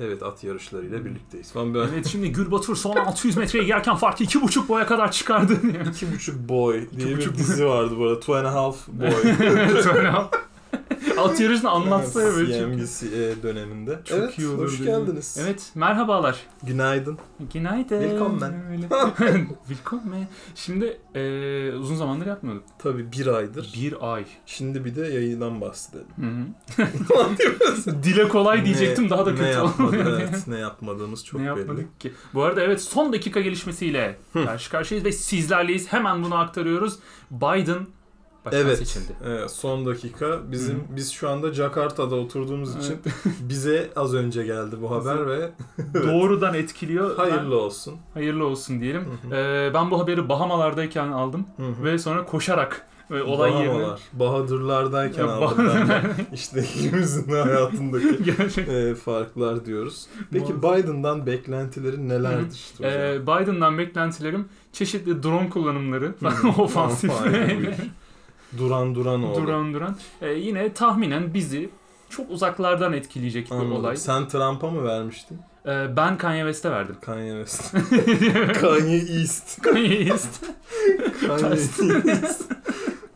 Evet at yarışlarıyla birlikteyiz. Ben böyle Evet şimdi Gülbatur son 600 metreye girerken farkı 2,5 boya kadar çıkardı. iki buçuk boy diye bir buçuk dizi vardı bu arada. Two and a half boy. Evet öyle. At yarışını anlatsa evet. çünkü. CNBC E döneminde. Çok evet, iyi olur. Hoş değil mi? geldiniz. Evet merhabalar. Günaydın. Günaydın. Willkommen. Öyle. Willkommen. Şimdi e, uzun zamandır yapmıyorduk. Tabii bir aydır. Bir ay. Şimdi bir de yayından bahsedelim. Hı hı. Dile kolay diyecektim Ne- daha da ne kötü yapmadı, oldu. evet, ne yapmadığımız çok ne belli. yapmadık ki? Bu arada evet son dakika gelişmesiyle karşı karşıyayız ve sizlerleyiz. Hemen bunu aktarıyoruz. Biden başkan Evet. seçildi. evet, son dakika. Bizim biz şu anda Jakarta'da oturduğumuz için bize az önce geldi bu haber ve Doğrudan etkiliyor. Ben- hayırlı olsun. hayırlı olsun diyelim. Ee, ben bu haberi Bahamalardayken aldım Hı hı. ve sonra koşarak ve olay Bahamalar, Bahadırlardayken Ya, aldım ben de. İşte ikimizin hayatındaki yerine gerçek. e, farklar diyoruz. Peki Muazzam. Biden'dan beklentilerin nelerdir? hocam? Ee, Biden'dan beklentilerim çeşitli drone kullanımları, ofansif, Hmm. Aynen, buyur. duran duran oldu. duran duran. Ee, yine tahminen bizi çok uzaklardan etkileyecek bir Anladım. olay. Sen Trump'a mı vermiştin? Ee, ben Kanye West'e verdim. Kanye West. Kanye East. Kanye West. Kanye East.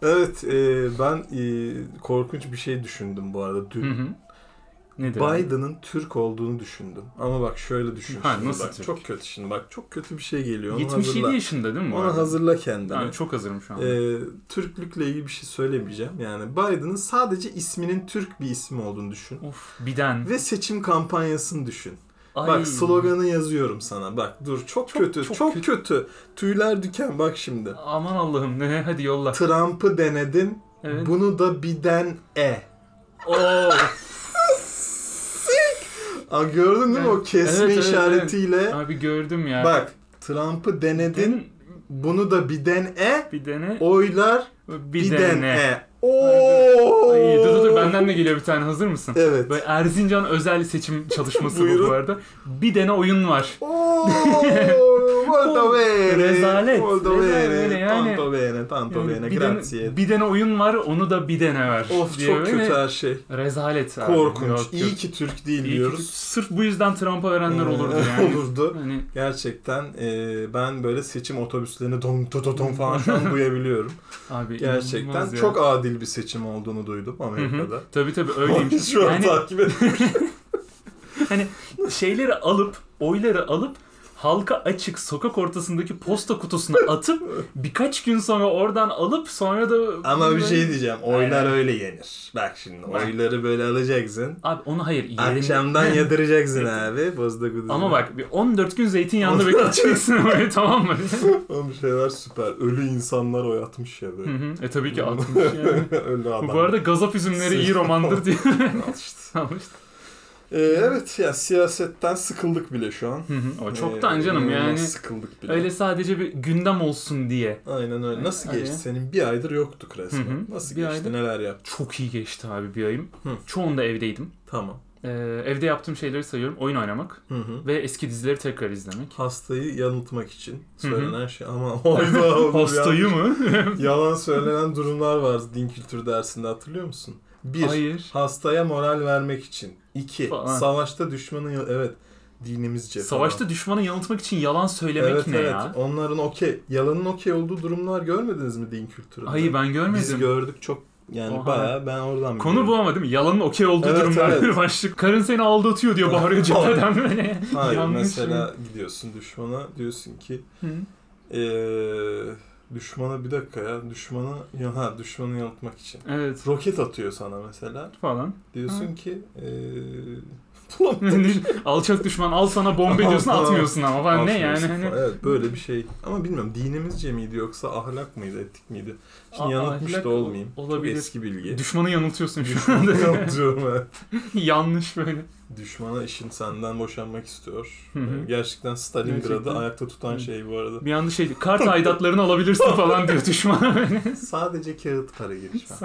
evet e, ben e, korkunç bir şey düşündüm bu arada Hı dün. hı. Nedir? abi? Biden'ın Türk olduğunu düşündüm. Ama bak şöyle düşün Ha, şimdi nasıl bak. Türk? Çok kötü şimdi bak. Çok kötü bir şey geliyor. Onu 77 hazırla. yaşında değil mi? bu Onu arada? hazırla kendine. Yani çok hazırım şu an. Ee, Türklükle ilgili bir şey söylemeyeceğim. Yani Biden'ın sadece isminin Türk bir isim olduğunu düşün. of biden. Ve seçim kampanyasını düşün. Ay. Bak sloganı yazıyorum sana. Bak dur çok, kötü, çok çok, kötü. Tüyler diken bak şimdi. Aman Allah'ım ne hadi yolla. Trump'ı denedin. Evet. Bunu da biden e. Oo. Aa, gördün değil mi o Evet, kesme evet, evet. işaretiyle? Abi gördüm ya. Bak Trump'ı denedin. Dün Bunu da biden e. bir dene. Oylar bir, biden dene. e. Oo. Ay, dur dur dur benden de geliyor bir tane hazır mısın? Evet. Böyle Erzincan özel seçim çalışması bu, Buyurun. bu arada. Bir dene oyun var. Ooo, molto bene. Rezalet, Molto rezalet bene. yani. Tanto bene, tanto Yani bene. bir, Grazie. dene, bir dene oyun var onu da bir dene ver. Of diye çok böyle kötü her şey. Rezalet abi. Korkunç. Yok, İyi yok. ki Türk değil İyi ki- diyoruz. Sırf bu yüzden Trump'a verenler Ee, olurdu yani. olurdu. Hani Gerçekten e, ben böyle seçim otobüslerini don don don falan şu an duyabiliyorum. abi Gerçekten inanılmaz ya. çok adil bir seçim olduğunu duydum Amerika'da. Tabii tabii öyleymiş. şu an yani takip ediyorum. hani şeyleri alıp oyları alıp halka açık sokak ortasındaki posta kutusuna atıp birkaç gün sonra oradan alıp sonra da Ama bir şey diyeceğim. Oylar Aynen. öyle yenir. Bak şimdi oyları böyle alacaksın. Abi onu hayır yerinde. Akşamdan yadıracaksın abi. Bozda kuduzu. Ama bak bir 14 gün zeytinyağında bekleteceksin böyle tamam mı? Oğlum şeyler süper. Ölü insanlar oy atmış ya Hı böyle. hı. e tabii ki atmış yani. Ölü adam. Bu arada gazap üzümleri iyi romandır diye İşte. almış. Ee, evet ya siyasetten sıkıldık bile şu an. Hı hı. O Ee, çoktan canım inanılmaz yani. Sıkıldık bile. Öyle sadece bir gündem olsun diye. Aynen öyle. Nasıl Aynen. geçti? Senin bir aydır yoktuk resmen. Hı hı. Nasıl Bir geçti? aydır. Neler yaptın? Çok iyi geçti abi bir ayım. Hı. Çoğunda evdeydim. Tamam. Ee, evde yaptığım şeyleri sayıyorum. Oyun oynamak Hı hı. ve eski dizileri tekrar izlemek. Hastayı yanıltmak için hı. söylenen şey ama oyda olur ya. Hastayı mı? Yalan söylenen durumlar var din kültür dersinde hatırlıyor musun? Bir, Hayır. hastaya moral vermek için. İki, Falan. savaşta düşmanın... yol- Evet, dinimizce şey falan. Savaşta düşmanı yanıltmak için yalan söylemek evet, ne evet. ya? Onların okey, yalanın okey olduğu durumlar görmediniz mi din kültüründe? Hayır ben Biz görmedim. gördük çok yani Oha. bayağı ben oradan Konu bu biliyorum. ama değil mi? Yalanın okey olduğu Evet, durumlar evet. bir başlık. Karın seni aldatıyor diyor bağırıyor cepheden böyle. Hayır Yanlış mesela gidiyorsun düşmana diyorsun ki Hı. eee düşmana bir dakika ya düşmana ya ha düşmanı yanıltmak için. Evet Roket atıyor sana mesela. falan. Diyorsun ki eee bulam- Alçak düşman al sana bombe diyorsun Al, al. atmıyorsun ama falan. ne yani Atmıyorsun hani. falan. Evet böyle bir şey. Ama bilmiyorum dinimizce miydi yoksa ahlak mıydı ettik miydi? Şimdi A- yanıltmış ahlak da olmayayım. olabilir. Çok eski bilgi. Düşmanı yanıltıyorsun şu Düşmanı anda. yanıltıyorum evet. Yanlış böyle. Düşmana işin senden boşanmak istiyor. Hı hı. Ee, Gerçekten Stalingrad'ı Gerçekten. ayakta tutan Hı. şey bu arada. Bir anda şey kart aidatlarını alabilirsin falan diyor düşmana böyle. Sadece kağıt para girişme.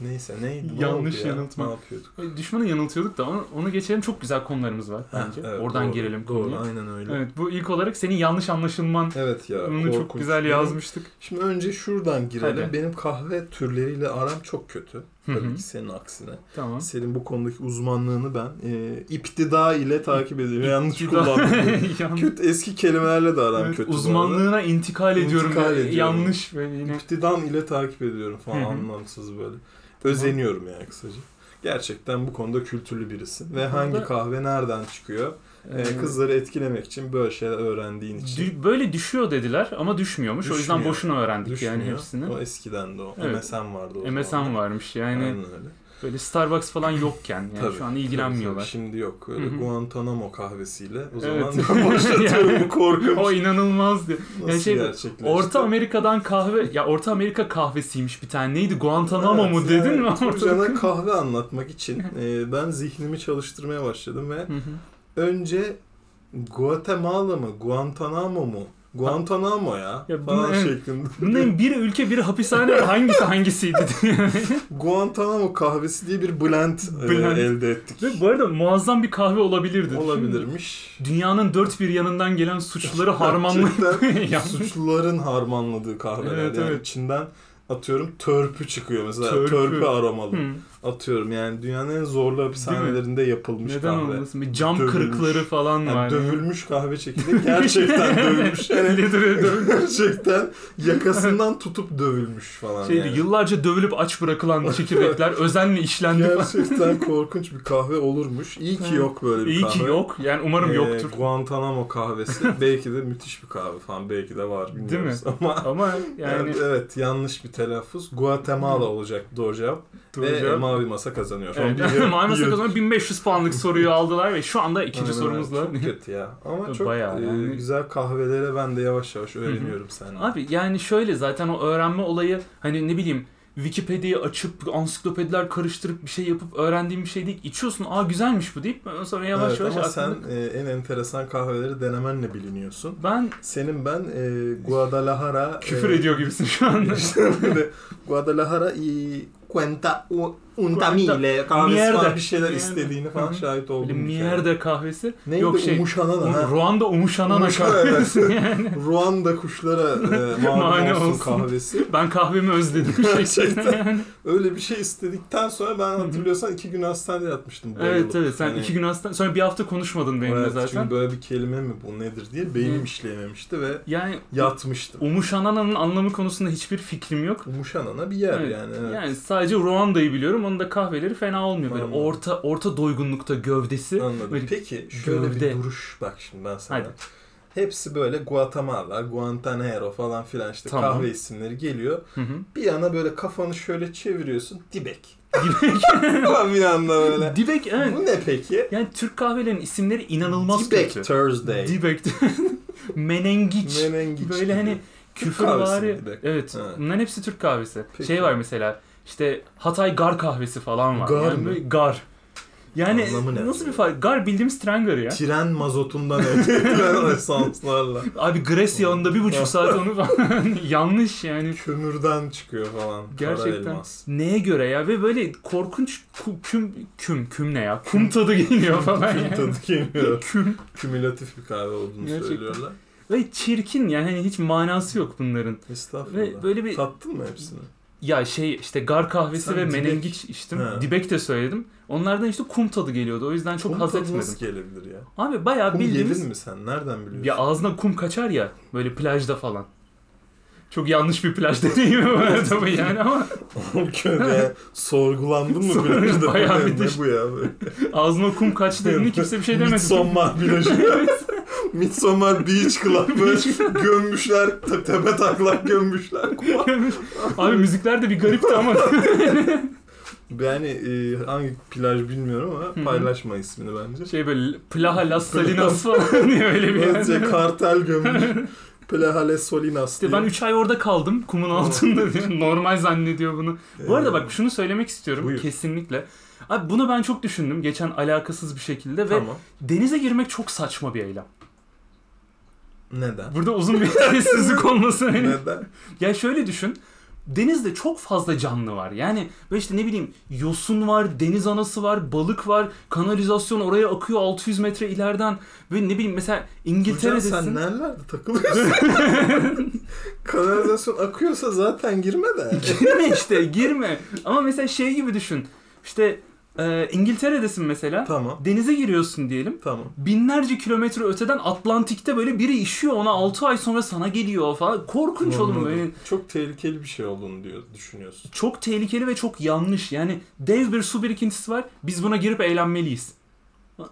Neyse neydi? Ne Yanlış oldu ya? yanıltma. Ne yapıyorduk? Düşmanı yanıltıyorduk da onu, onu geçelim. Çok güzel konularımız var Ha, bence. evet, Oradan doğru, girelim Doğru konuya. aynen öyle. Evet, Evet bu ilk olarak senin yanlış anlaşılman ya bunu çok korkunç. güzel Benim- yazmıştık. Şimdi önce şuradan girelim. Hadi. Benim kahve türleriyle aram çok kötü. Hı Tabii hı. ki senin aksine. Tamam. Senin bu konudaki uzmanlığını ben e, iptida ile takip ediyorum. Yanlış kullandım. kullandım. kötü eski kelimelerle de aram Evet, kötü. bu arada. uzmanlığına intikal ediyorum. İntikal ediyorum. Yanlış böyle yine. İptidan ile takip ediyorum falan Hı hı. anlamsız böyle. Özeniyorum yani kısaca. Gerçekten bu konuda kültürlü birisin. Ve Bu hangi konuda- kahve nereden çıkıyor? Ee, Ee, kızları etkilemek için böyle şeyler öğrendiğin için. dü- böyle düşüyor dediler ama düşmüyormuş. O yüzden Düşmüyor. boşuna öğrendik yani Düşmüyor. hepsini. O eskiden de o. Evet. MSN vardı o MSN zamanlar. varmış yani Aynen öyle. böyle Starbucks falan yokken yani Tabii, şu an tabii, ilgilenmiyorlar. tabii. Şimdi yok. Hı Öyle hı. Guantanamo kahvesiyle o Evet. zaman başlatıyorum bu korkunç. o inanılmazdı. Nasıl yani şey, gerçekleşti? Orta Amerika'dan kahve ya Orta Amerika kahvesiymiş bir tane. Neydi Guantanamo Evet, mu dedin yani mi? Turcan'a kahve anlatmak için e, ben zihnimi çalıştırmaya başladım ve Hı hı. önce Guatemala mı, Guantanamo mu, Guantanamo ya, Ya bu falan ne? şeklinde. Bunların bir ülke bir hapishane hangisi hangisiydi diye. Guantanamo kahvesi diye bir blend, e, Blend. elde ettik. Ve bu arada muazzam bir kahve olabilirdi. Olabilirmiş. Dünyanın dört bir yanından gelen suçluları harmanlayıp Gerçekten yapmış. suçluların harmanladığı kahveler. Evet, yani evet. içinden atıyorum törpü çıkıyor mesela. Törpü, Törpü. aromalı. Hı. Atıyorum yani dünyanın en zorlu hapishanelerinde yapılmış Neden kahve. olmasın? Bir cam Dövülmüş. kırıkları falan Yani var. dövülmüş kahve çekirdeği gerçekten dövülmüş. Yani Literal dövülmüş. gerçekten yakasından tutup dövülmüş falan. Şeydi, yani. yıllarca dövülüp aç bırakılan çekirdekler özenle işlendi falan. Gerçekten korkunç bir kahve olurmuş. İyi ki yok böyle bir İyi kahve. ki yok. Yani umarım Ee, yoktur. Guantanamo kahvesi belki de müthiş bir kahve falan belki de var mi? bilmiyoruz ama Ama yani Evet, evet yanlış bir telaffuz. Guatemala olacak doğru cevap. Doğru Ve cevap. mavi masa kazanıyor. Falan. Evet. Biliyorum, Mavi biliyorum. Sakız'ın 1500 puanlık soruyu aldılar ve şu anda ikinci Aynen, sorumuzla. Çok kötü ya. Ama çok Bayağı e, yani. güzel kahvelere ben de yavaş yavaş öğreniyorum senden. Abi yani şöyle zaten o öğrenme olayı hani ne bileyim Wikipedia'yı açıp ansiklopediler karıştırıp bir şey yapıp öğrendiğim bir şey değil. İçiyorsun aa güzelmiş bu deyip sonra yavaş evet, yavaş ama aklında- sen e, en enteresan kahveleri denemenle biliniyorsun. Ben Senin ben e, Guadalajara... küfür e, ediyor gibisin şu anda. İşte böyle Guadalajara i cuenta u- un tamile kahvesi falan Mierda. bir şeyler Mierda. istediğini falan Hı hı. şahit Böyle oldum. Mierde kahvesi. Neydi? Yok şey. Umuşanana. ha. Ruanda Umuşanana Umuşanana, evet. kahvesi yani. Ruanda kuşlara e, mani Mani olsun, olsun. kahvesi. Ben kahvemi özledim Şey- Gerçekten. gerçekten. yani. Öyle bir şey istedikten sonra ben hı. hatırlıyorsan iki gün hastanede yatmıştım. Evet bayılıp. evet sen Hani- iki gün hasta sonra bir hafta konuşmadın benimle Evet, zaten. Çünkü böyle bir kelime mi bu nedir diye beynim Hı. işleyememişti ve Yani yatmıştım. Umuşanana'nın anlamı konusunda hiçbir fikrim yok. Umuşanana bir yer Evet, yani. evet. Yani sadece Ruanda'yı biliyorum. Onun da kahveleri fena olmuyor. Böyle Anladım. orta orta doygunlukta gövdesi. Anladım. Böyle Peki şöyle bir gövde. duruş bak şimdi ben sana. Hadi. Hepsi böyle Guatemala, Guantanamo falan filan işte Tamam. kahve isimleri geliyor. Hı hı. Bir yana böyle kafanı şöyle çeviriyorsun. Dibek. Dibek. Ulan bir anda böyle. Dibek evet. Bu ne peki? Yani Türk kahvelerinin isimleri inanılmaz Dibek kötü. Thursday. Dibek. Menengiç. Menengiç Böyle gibi. hani küfür kahvesi bari. mi Dibek? Evet. Ha. Bunların hepsi Türk kahvesi. Peki. Şey var mesela. işte Hatay gar kahvesi falan var. Gar yani mı? böyle Gar. Yani Anlamı ne nasıl bir acaba? fark? Gar bildiğimiz tren garı ya. Tren mazotundan elde edilen esanslarla. Abi Grecia yanında bir buçuk saat onu falan. Yanlış yani. Kömürden çıkıyor falan. Kara Gerçekten. elmas. Neye göre ya? Ve böyle korkunç ku- küm, küm, küm ne ya? Kum tadı geliyor falan Küm yani. tadı gelmiyor. Küm. Kümülatif bir kahve olduğunu Gerçekten. söylüyorlar. Ve çirkin yani hani hiç manası yok bunların. Estağfurullah. Ve böyle bir Tattın mı hepsini? ya şey işte gar kahvesi Sen ve dibek- menengiç içtim. He. Dibek de söyledim. Onlardan işte kum tadı geliyordu. O yüzden çok Kum haz tadı etmedim. Nasıl gelebilir ya? Abi bayağı Kum bildiğimiz yedin mi sen? Nereden biliyorsun? ya ağzına kum kaçar ya böyle plajda falan. Çok yanlış bir plaj deneyimi bu arada bu yani ama Köyde sorgulandın mı Sonra plajda? Bu bayağı ne- bir ne düş- bu ya? böyle? ağzına kum kaçtı dediğinde kimse bir şey demedi. Midsommar plajı. Midsommar Beach Club böyle gömmüşler, te- tepe taklak gömmüşler. kuma. Abi müzikler de bir garipti ama. Yani e, hangi plaj bilmiyorum hı. ama paylaşma ismini bence. Şey böyle Plaha Las Salinas falan diye öyle bir Önce yer. kartel gömmüş. Plejale Solinas İşte ben 3 ay orada kaldım kumun altında diyor. Normal zannediyor bunu. Bu arada bak şunu söylemek istiyorum buyur. kesinlikle. Abi bunu ben çok düşündüm geçen alakasız bir şekilde ve E, Tamam. denize girmek çok saçma bir eylem. Neden? Burada uzun bir sessizlik olması. Neden? ya şöyle düşün. denizde çok fazla canlı var. Yani böyle işte ne bileyim yosun var, deniz anası var, balık var, kanalizasyon oraya akıyor 600 metre ileriden. Böyle ne bileyim mesela Hocam sen İngiltere'desin. nerelerde takılıyorsun? Kanalizasyon akıyorsa zaten girme de. E, girme işte girme. Ama mesela şey gibi düşün. İşte e, İngiltere'desin mesela. tamam. Denize giriyorsun diyelim. Tamam. binlerce kilometre öteden Atlantik'te böyle biri işiyor ona 6 ay sonra sana geliyor falan. Korkunç oğlum böyle. Anladım. Çok tehlikeli bir şey olduğunu diyor, düşünüyorsun. Çok tehlikeli ve çok yanlış. Yani dev bir su birikintisi var. Biz buna girip eğlenmeliyiz.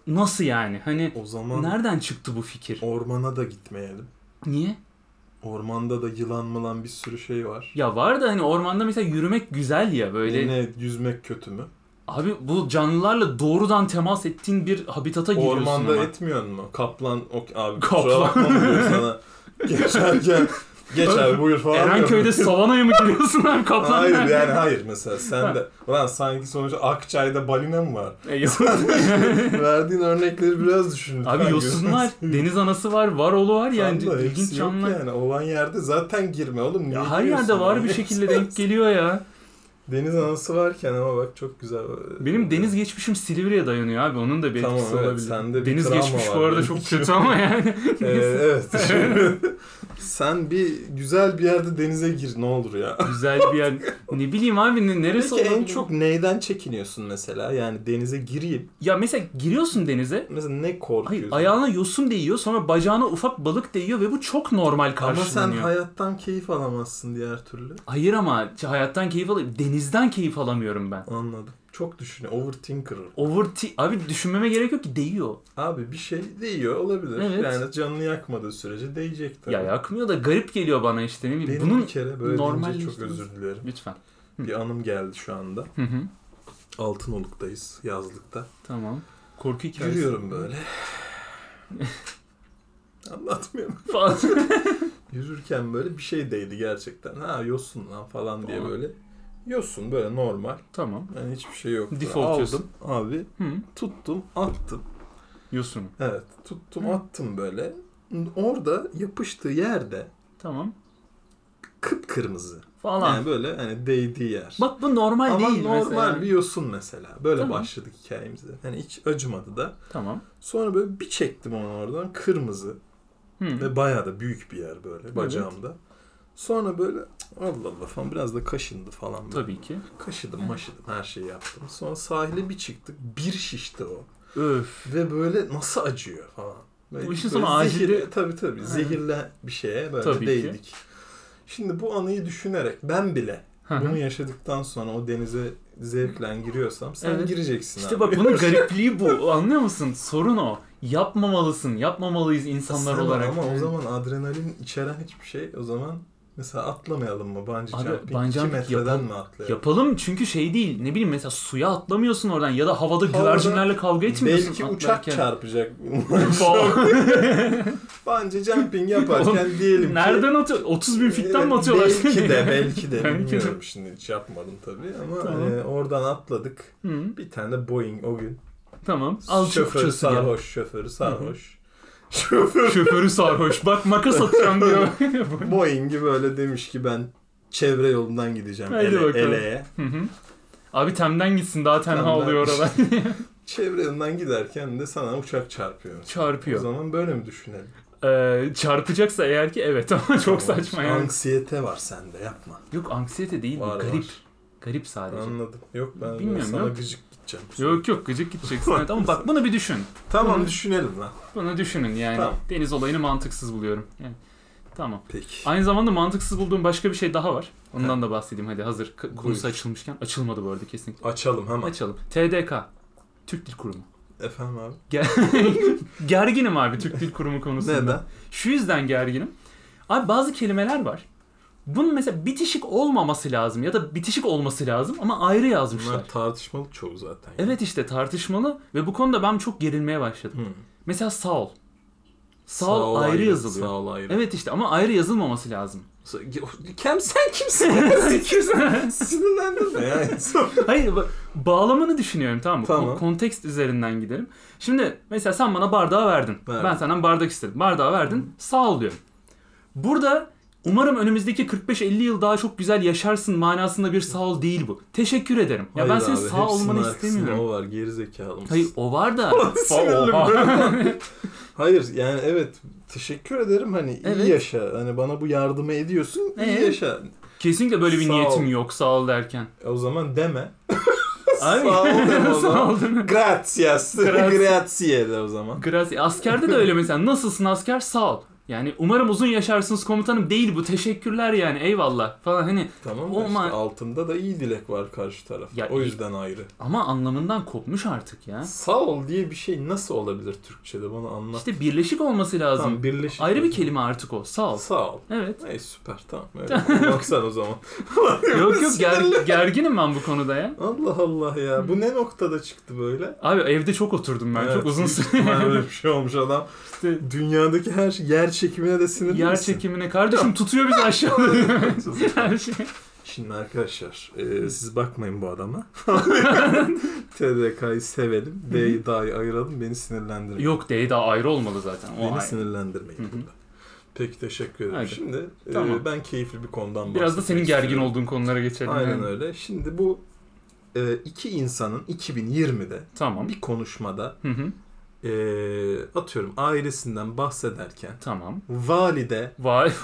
Nasıl yani? Hani O zaman nereden çıktı bu fikir? ormana da gitmeyelim. Niye? Ormanda da yılan mılan bir sürü şey var. Ya var da hani ormanda mesela yürümek güzel ya böyle. Yine yüzmek kötü mü? Abi bu canlılarla doğrudan temas ettiğin bir habitata giriyorsun Ormanda ama. etmiyor mu? Kaplan, ok abi Kaplan. kusura bakma mı diyor sana? Geçer gel. Geç abi buyur falan. diyor. Erenköy'de savanaya mı giriyorsun abi kaplan? Hayır nerede? yani hayır mesela sen de. Ulan sanki sonuçta Akçay'da balina mı var? E, yok. Verdiğin örnekleri biraz düşün. lütfen. Abi yosun var, deniz anası var, varolu var yani Tamam da ilginç hepsi yok canlılar. Yani olan yerde zaten girme oğlum. niye Ya her giriyorsun yerde var yani? bir şey. şekilde denk geliyor ya. Deniz anası varken ama bak çok güzel. Benim deniz geçmişim Silivri'ye dayanıyor abi. Onun da bir Tamam, etkisi evet, olabilir. sende bir deniz travma geçmiş var bu arada benim çok için. kötü ama yani. Ee, evet. Sen bir güzel bir yerde denize gir ne olur ya. Güzel bir yer. Ne bileyim abi ne, neresi Peki en olabilir? çok neyden çekiniyorsun mesela? Yani denize gireyim. Ya mesela giriyorsun denize. Mesela ne Hayır korkuyorsun? ayağına yosun değiyor sonra bacağına ufak balık değiyor ve bu çok normal Ama sen karşılanıyor. hayattan keyif alamazsın diğer türlü. Hayır ama hayattan keyif alıyorum. Denizden keyif alamıyorum ben. Anladım. Çok düşünüyor. Overthinker. Over abi düşünmeme gerek yok ki değiyor. Abi bir şey değiyor olabilir. Evet. Yani canını yakmadığı sürece değecek tabii. Ya yakmıyor da garip geliyor bana işte ne bileyim. Benim Bunun bir kere böyle deyince çok normalleştirmesi- özür dilerim. lütfen. Bir anım geldi şu anda. Hı hı. Altınoluk'tayız yazlıkta. Tamam. Korku hikayesi. Yürüyorum böyle. Anlatmıyorum. Falan. Yürürken böyle bir şey değdi gerçekten. Ha yosun lan falan diye Tamam. böyle. Yosun böyle normal. tamam. Yani hiçbir şey yok. Default Aldım yosun. abi. Hı. Tuttum attım. Yosunu. Evet tuttum Hı. attım böyle. Orada yapıştığı yerde Tamam. kıpkırmızı. Falan. Yani böyle hani değdiği yer. Bak bu normal Ama değil normal mesela. bir yosun mesela. Böyle Tamam. başladık hikayemize. Hani hiç acımadı da. Tamam. Sonra böyle bir çektim onu oradan. Kırmızı. Hı. Ve bayağı da büyük bir yer böyle bacağımda. Sonra böyle Allah Allah falan biraz da kaşındı falan. Böyle. Tabii ki. Kaşıdım maşıdım her şeyi yaptım. Sonra sahile bir çıktık bir şişti o. Öf. Ve böyle nasıl acıyor falan. Böyle, Bu işin böyle sonu zehirli- acili- Tabii tabii Aynen. zehirle bir şeye böyle Tabii ki. değdik. Şimdi bu anıyı düşünerek ben bile Hı hı. bunu yaşadıktan sonra o denize zevkle giriyorsam sen Evet. gireceksin İşte abi. bak bunun garipliği bu. Anlıyor musun? Sorun o. Yapmamalısın. Yapmamalıyız insanlar Sen olarak. Ama o zaman adrenalin içeren hiçbir şey o zaman mesela atlamayalım mı bungee Abi, jumping? bungee 2 jumping metreden yapalım- mi atlayalım? Yapalım çünkü şey değil. Ne bileyim mesela suya atlamıyorsun oradan ya da havada, Havada güvercinlerle kavga etmiyorsun. Belki uçak atlarken. çarpacak. Falan. bungee jumping yaparken Oğlum, diyelim ki... Nereden atıyor? 30 bin fitten mi Evet, atıyorlar Belki seni? de belki de Belki de. bilmiyorum şimdi hiç yapmadım tabii ama Tamam. e, oradan atladık. Hı, Bir tane de Boeing o gün. tamam. Al şoförü çıkıyorsun ya. sarhoş, şoförü sarhoş. Şoför Şoförü sarhoş. Bak makas atacağım diyor. Boeing'i böyle demiş ki ben çevre yolundan gideceğim Haydi ele, bakalım. ele'ye. Hı hı. Abi Tem'den gitsin daha tenha Tem'den. oluyor oralar. Çevre yolundan giderken de sana uçak çarpıyor. mesela. O Çarpıyor. zaman böyle mi düşünelim? Ee, çarpacaksa eğer ki evet ama Tamam. çok saçma yani. Anksiyete var sende yapma. Yok anksiyete değil bu. Var, Garip. var. Garip sadece. Anladım. Yok ben Bilmiyorum, sana yok. gıcık gideceğim. Yok yok gıcık gideceksin. evet, ama bak bunu bir düşün. Tamam Hı. düşünelim lan. Bunu düşünün yani. Tamam. Deniz olayını mantıksız buluyorum. Yani, tamam. Peki. Aynı zamanda mantıksız bulduğum başka bir şey daha var. Ondan da bahsedeyim hadi hazır k- konusu Buyur. açılmışken. Açılmadı bu arada kesinlikle. Açalım hemen. Açalım. TDK. Türk Dil Kurumu. Efendim abi. Gerginim abi Türk Dil Kurumu konusunda. Neden? Şu yüzden gerginim. Abi bazı kelimeler var. Bunun mesela bitişik olmaması lazım ya da bitişik olması lazım ama ayrı yazmışlar. Bunlar tartışmalı çoğu zaten. Evet işte tartışmalı ve bu konuda ben çok gerilmeye başladım. Hı. Mesela sağ ol. Sağ, ol ayrı, yazılıyor. Sağ ol ayrı. Evet işte ama ayrı yazılmaması lazım. Kim sen kimsin? Sinirlendirme ya insan. Hayır bak bağlamını düşünüyorum tamam mı? Tamam. Kon- kontekst üzerinden gidelim. Şimdi mesela sen bana bardağı verdin. Verdim. Ben senden bardak istedim. Bardağı verdin. Sağ ol diyorum. Burada Umarım önümüzdeki 45-50 yıl daha çok güzel yaşarsın manasında bir sağ ol değil bu. Teşekkür ederim. Ya ben Hayır senin abi, sağ hepsinin olmanı arkasında istemiyorum. O var gerizekalı mısın? Hayır o var da. Sinirli Oha. böyle. Hayır yani evet teşekkür ederim hani iyi Evet. yaşa. Hani bana bu yardımı ediyorsun iyi Evet. yaşa. Kesinlikle böyle bir Sağ ol. niyetim yok sağ ol derken. E O zaman deme. Abi, Sağ ol deme o sağ zaman. ol deme. Gracias. Grazie. Grazie de o zaman. Grazie. Askerde de öyle mesela. Nasılsın asker? Sağ ol. Yani umarım uzun yaşarsınız komutanım değil bu. Teşekkürler yani eyvallah falan hani. Tamam O da işte ma- altında da iyi dilek var karşı taraf. Ya o iyi- yüzden ayrı. Ama anlamından kopmuş artık ya. Sağ ol diye bir şey nasıl olabilir Türkçe'de bana anlat. İşte birleşik olması lazım. Tamam, birleşik. Ayrı bir kelime artık o. Sağ ol. Sağ ol. Evet. Ey süper tamam. Öyle. Kullansan o zaman. Yok yok ger- Sinirli. gerginim ben bu konuda ya. Allah Allah ya. Bu ne noktada çıktı böyle? Abi evde çok oturdum Hmm. ben. Evet, çok uzun büyük süre. ihtimalle Öyle bir şey olmuş adam. İşte Dünyadaki her şey, yer çekimine de sinirli yer misin? çekimine kardeşim tutuyor bizi aşağıda. Her şey. Şimdi arkadaşlar e, siz bakmayın bu adama. TDK'yı sevelim. D'yi dahi ayıralım. Beni sinirlendirmeyin. Yok D'ye daha ayrı olmalı zaten. O Beni ayrı. sinirlendirmeyin Hı hı. burada. Peki teşekkür ederim. Hadi. Şimdi e, Tamam. ben keyifli bir konudan Biraz da senin bahsetmek gergin istiyorum. olduğun konulara geçelim. Aynen Yani. öyle. Şimdi bu e, iki insanın 2020'de Tamam. bir konuşmada Hı hı. e, atıyorum ailesinden bahsederken Tamam. valide, Vay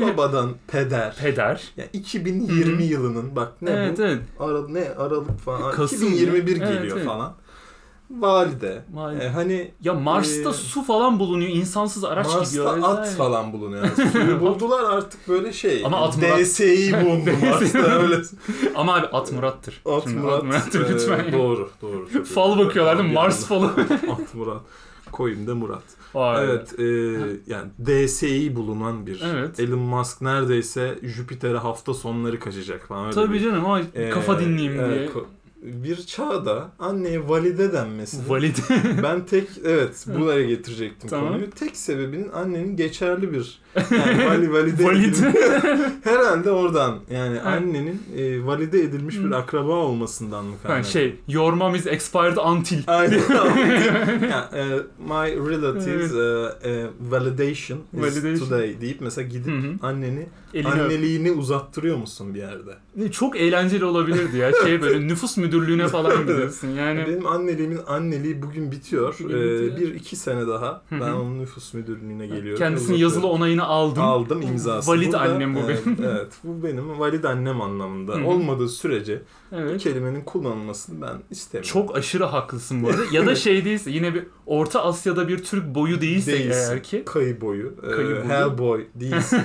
babadan peder. peder. Ya 2020 Hı hı. yılının bak ne bu evet evet. Ara, ne Aralık falan. Kasım 2021 ya. geliyor Evet, evet. falan. Valide. Vay. E, hani Ya Mars'ta Ee, su falan bulunuyor. insansız araç gidiyor. Mars'ta Evet, at evet. falan bulunuyor. Suyu buldular artık böyle şey. Ama at Murat- DS'yi buldu Mars'ta öyle. Ama abi at Murat'tır. At Şimdi Murat. Murat'tır e, lütfen. ya. doğru doğru. çok iyi. Fal bakıyorlar değil mi? Bir Mars falı. anda. at Murat. Koyayım da Murat. Vay. Evet, e, yani DS'yi bulunan bir. Evet. Elon Musk neredeyse Jüpiter'e hafta sonları kaçacak falan. Öyle Tabii bir- canım ama E, kafa dinleyeyim e, diye. ko- Bir çağda anneye valide denmesi. Valide. Ben tek evet buraya getirecektim Tamam. konuyu. Tek sebebinin annenin geçerli bir yani vali, valide edilmiş- Valide. herhalde oradan yani Ha. annenin e, valide edilmiş bir Hı. akraba olmasından mı Ha, kaynaklı? şey, your mom is expired until. Aynen. yani, e, my relatives e, e, validation, Validation. is today deyip mesela Hı gidip hı. anneni Elini öp. anneliğini uzattırıyor musun bir yerde? Çok eğlenceli olabilirdi ya. Şey böyle nüfus müdürlüğüne falan gidiyorsun. Yani Benim anneliğimin anneliği bugün bitiyor. Bugün Ee, bitiyor. bir iki sene daha Hı hı. ben onun nüfus müdürlüğüne geliyorum. kendisinin Uzatıyorum. yazılı onayını aldım. aldım imzasını. Valid Burada, annem bu evet, benim. Evet bu benim valid annem anlamında. Hı hı. Olmadığı sürece bu Evet. kelimenin kullanılmasını ben istemiyorum. Çok aşırı haklısın bu arada. Ya da şey değilse yine bir Orta Asya'da bir Türk boyu değilse Değilsin. eğer ki. Kayı boyu, e, Kayı boyu. hellboy değilsin.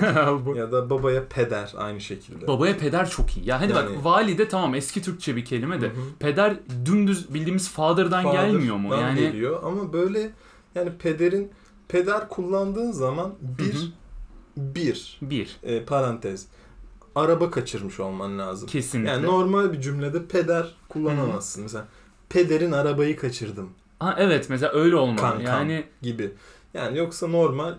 Bu- ya da babaya peder aynı şekilde. Babaya peder çok iyi. Ya hadi Yani- bak valide tamam eski Türkçe bir kelime de. Hı hı. Peder dümdüz bildiğimiz father'dan Father'dan gelmiyor mu? Yani geliyor ama böyle yani pederin peder kullandığın zaman bir Hı hı. bir bir. e, parantez araba kaçırmış olman lazım. Kesinlikle. Yani normal bir cümlede peder kullanamazsın. Mesela pederin arabayı kaçırdım ha, evet mesela öyle olmalı. Kankam. Yani gibi. Yani yoksa normal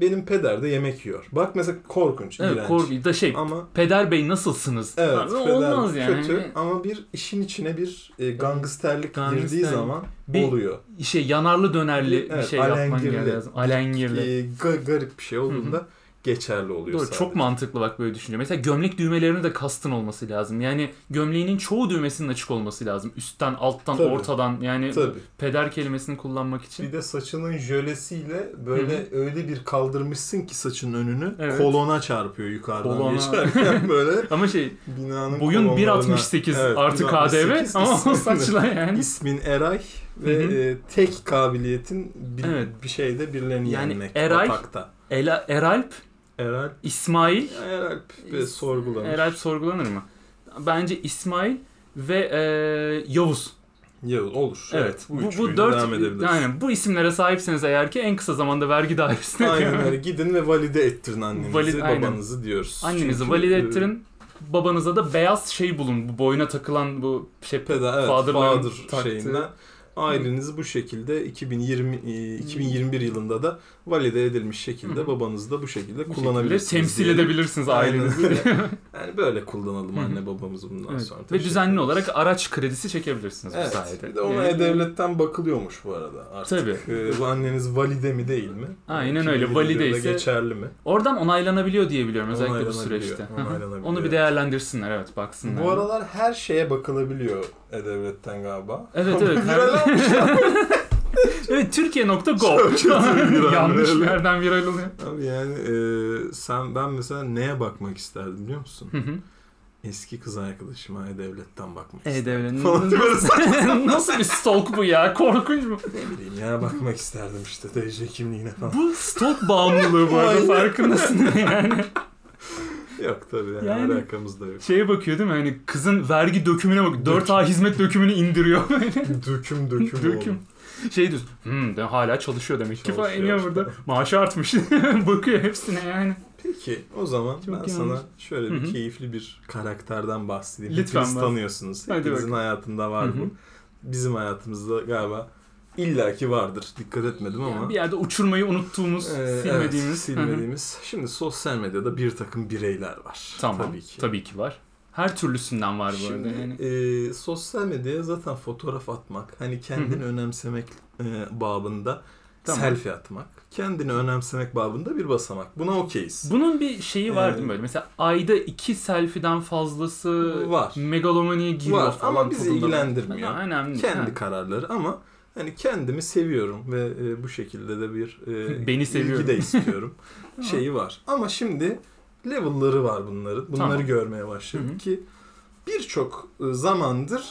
benim peder de yemek yiyor. Bak mesela korkunç, evet, iğrenç. Corby da şey Ama Peder Bey nasılsınız? evet Abi, peder olmaz yani. hani- kötü ama bir işin içine bir e, gangsterlik Gangsterlik. girdiği zaman Bir- oluyor. Şey yanarlı dönerli bir Evet, şey yapman alengirli. gerekiyor. lazım. Alengirli. E, ga- garip bir şey olduğunda geçerli oluyor Doğru, sadece. çok mantıklı bak böyle düşünce. Mesela gömlek düğmelerine de kastın olması lazım. Yani gömleğinin çoğu düğmesinin açık olması lazım. Üstten, alttan, Tabii. ortadan. Yani Tabii. peder kelimesini kullanmak için. Bir de saçının jölesiyle böyle öyle bir kaldırmışsın ki saçın önünü Evet. kolona çarpıyor yukarıdan Kolona. geçerken böyle Ama şey binanın boyun kolonlarına- 1.68 Evet, artı 1.68 KDV ama o ismini- saçla yani. İsmin Eray ve Hı hı. e, tek kabiliyetin bir, Evet. bir şeyde birilerini Yani yenmek. Eray- Atakta. Ela, Eralp, Eray, İsmail. Eralp ve sorgulamış. Eralp sorgulanır mı? Bence İsmail ve eee Yavuz. Ya olur. Evet. Bu, bu, üçlüyle dört devam edebiliriz. aynen, bu isimlere sahipseniz eğer ki en kısa zamanda vergi dairesine Aynen öyle. Gidin ve valide ettirin annenizi, Valid- aynen. babanızı diyoruz. annenizi Çünkü, valide e, ettirin. Babanıza da beyaz şey bulun. Bu boyuna takılan bu şey Peda, evet, father'ların father taktığı. şeyinden. Aileniz bu şekilde 2020 e, 2021 yılında da valide edilmiş şekilde Hı. babanızı da bu şekilde Bu kullanabilirsiniz. şekilde temsil diye. edebilirsiniz ailenizi. Aynen öyle. yani böyle kullanalım Hı hı. anne babamız bundan Evet. sonra. Ve Teşekkür düzenli ederiz. olarak araç kredisi çekebilirsiniz bu Evet. sayede. Bir de ona Ee, devletten bakılıyormuş bu arada artık. Tabii. Ee, bu anneniz valide mi değil mi? Aynen Kimi öyle, bilir valide de ise- geçerli mi? Oradan onaylanabiliyor diye biliyorum özellikle bu Onaylanabiliyor, süreçte. Hı hı. onaylanabiliyor, Onu bir evet. değerlendirsinler evet baksınlar. Bu aralar her şeye bakılabiliyor E-Devlet'ten galiba. Evet, evet. Viral almış. Evet Türkiye.gov. Çok kötü bir an, Yanlış öyle. bir yerden viral oluyor. Abi yani e, sen ben mesela neye bakmak isterdim biliyor musun? Hı hı. Eski kız arkadaşıma E-Devlet'ten bakmak E isterdim. devlet. Falan diye böyle saçma Nasıl bir stalk bu ya? Korkunç mu? ne bileyim ya bakmak isterdim işte TC kimliğine falan. Bu stalk bağımlılığı bu arada Aynen. farkındasın yani. Yok tabii yani, Yani- alakamız da yok. Şeye bakıyor değil mi? Hani kızın vergi dökümüne bak. 4A hizmet dökümünü indiriyor böyle. Döküm döküm, Döküm. oğlum. Şey diyorsun. Hmm, de hala çalışıyor demek ki falan Çalışıyor. iniyor burada. Maaşı artmış. Bakıyor hepsine yani. Peki o zaman Çok ben yanlış. sana şöyle bir Hı hı. keyifli bir karakterden bahsedeyim. Lütfen Hepiniz bahs- tanıyorsunuz. Hadi Hepinizin bakalım. hayatında var Hı hı. bu. Bizim hayatımızda galiba illaki vardır. Dikkat etmedim ama. Yani bir yerde uçurmayı unuttuğumuz, Ee, evet, silmediğimiz. silmediğimiz. Şimdi sosyal medyada bir takım bireyler var. Tamam. Tabii ki. var. Her türlüsünden var bu Şimdi arada. Yani. e, sosyal medyaya zaten fotoğraf atmak, hani kendini önemsemek e, babında Tamam. selfie atmak, kendini önemsemek babında bir basamak. Buna okeyiz. Bunun bir şeyi Ee, var değil mi böyle? Mesela ayda iki selfie'den fazlası Var. megalomaniye giriyor Var falan. ama bizi tadında. ilgilendirmiyor. Ha, önemli. Kendi Ha. kararları ama hani kendimi seviyorum ve e, bu şekilde de bir e, Beni seviyorum. ilgi de istiyorum şeyi var. Ama şimdi level'ları var bunların. Bunları Tamam. görmeye başladık Hı hı. ki birçok e, zamandır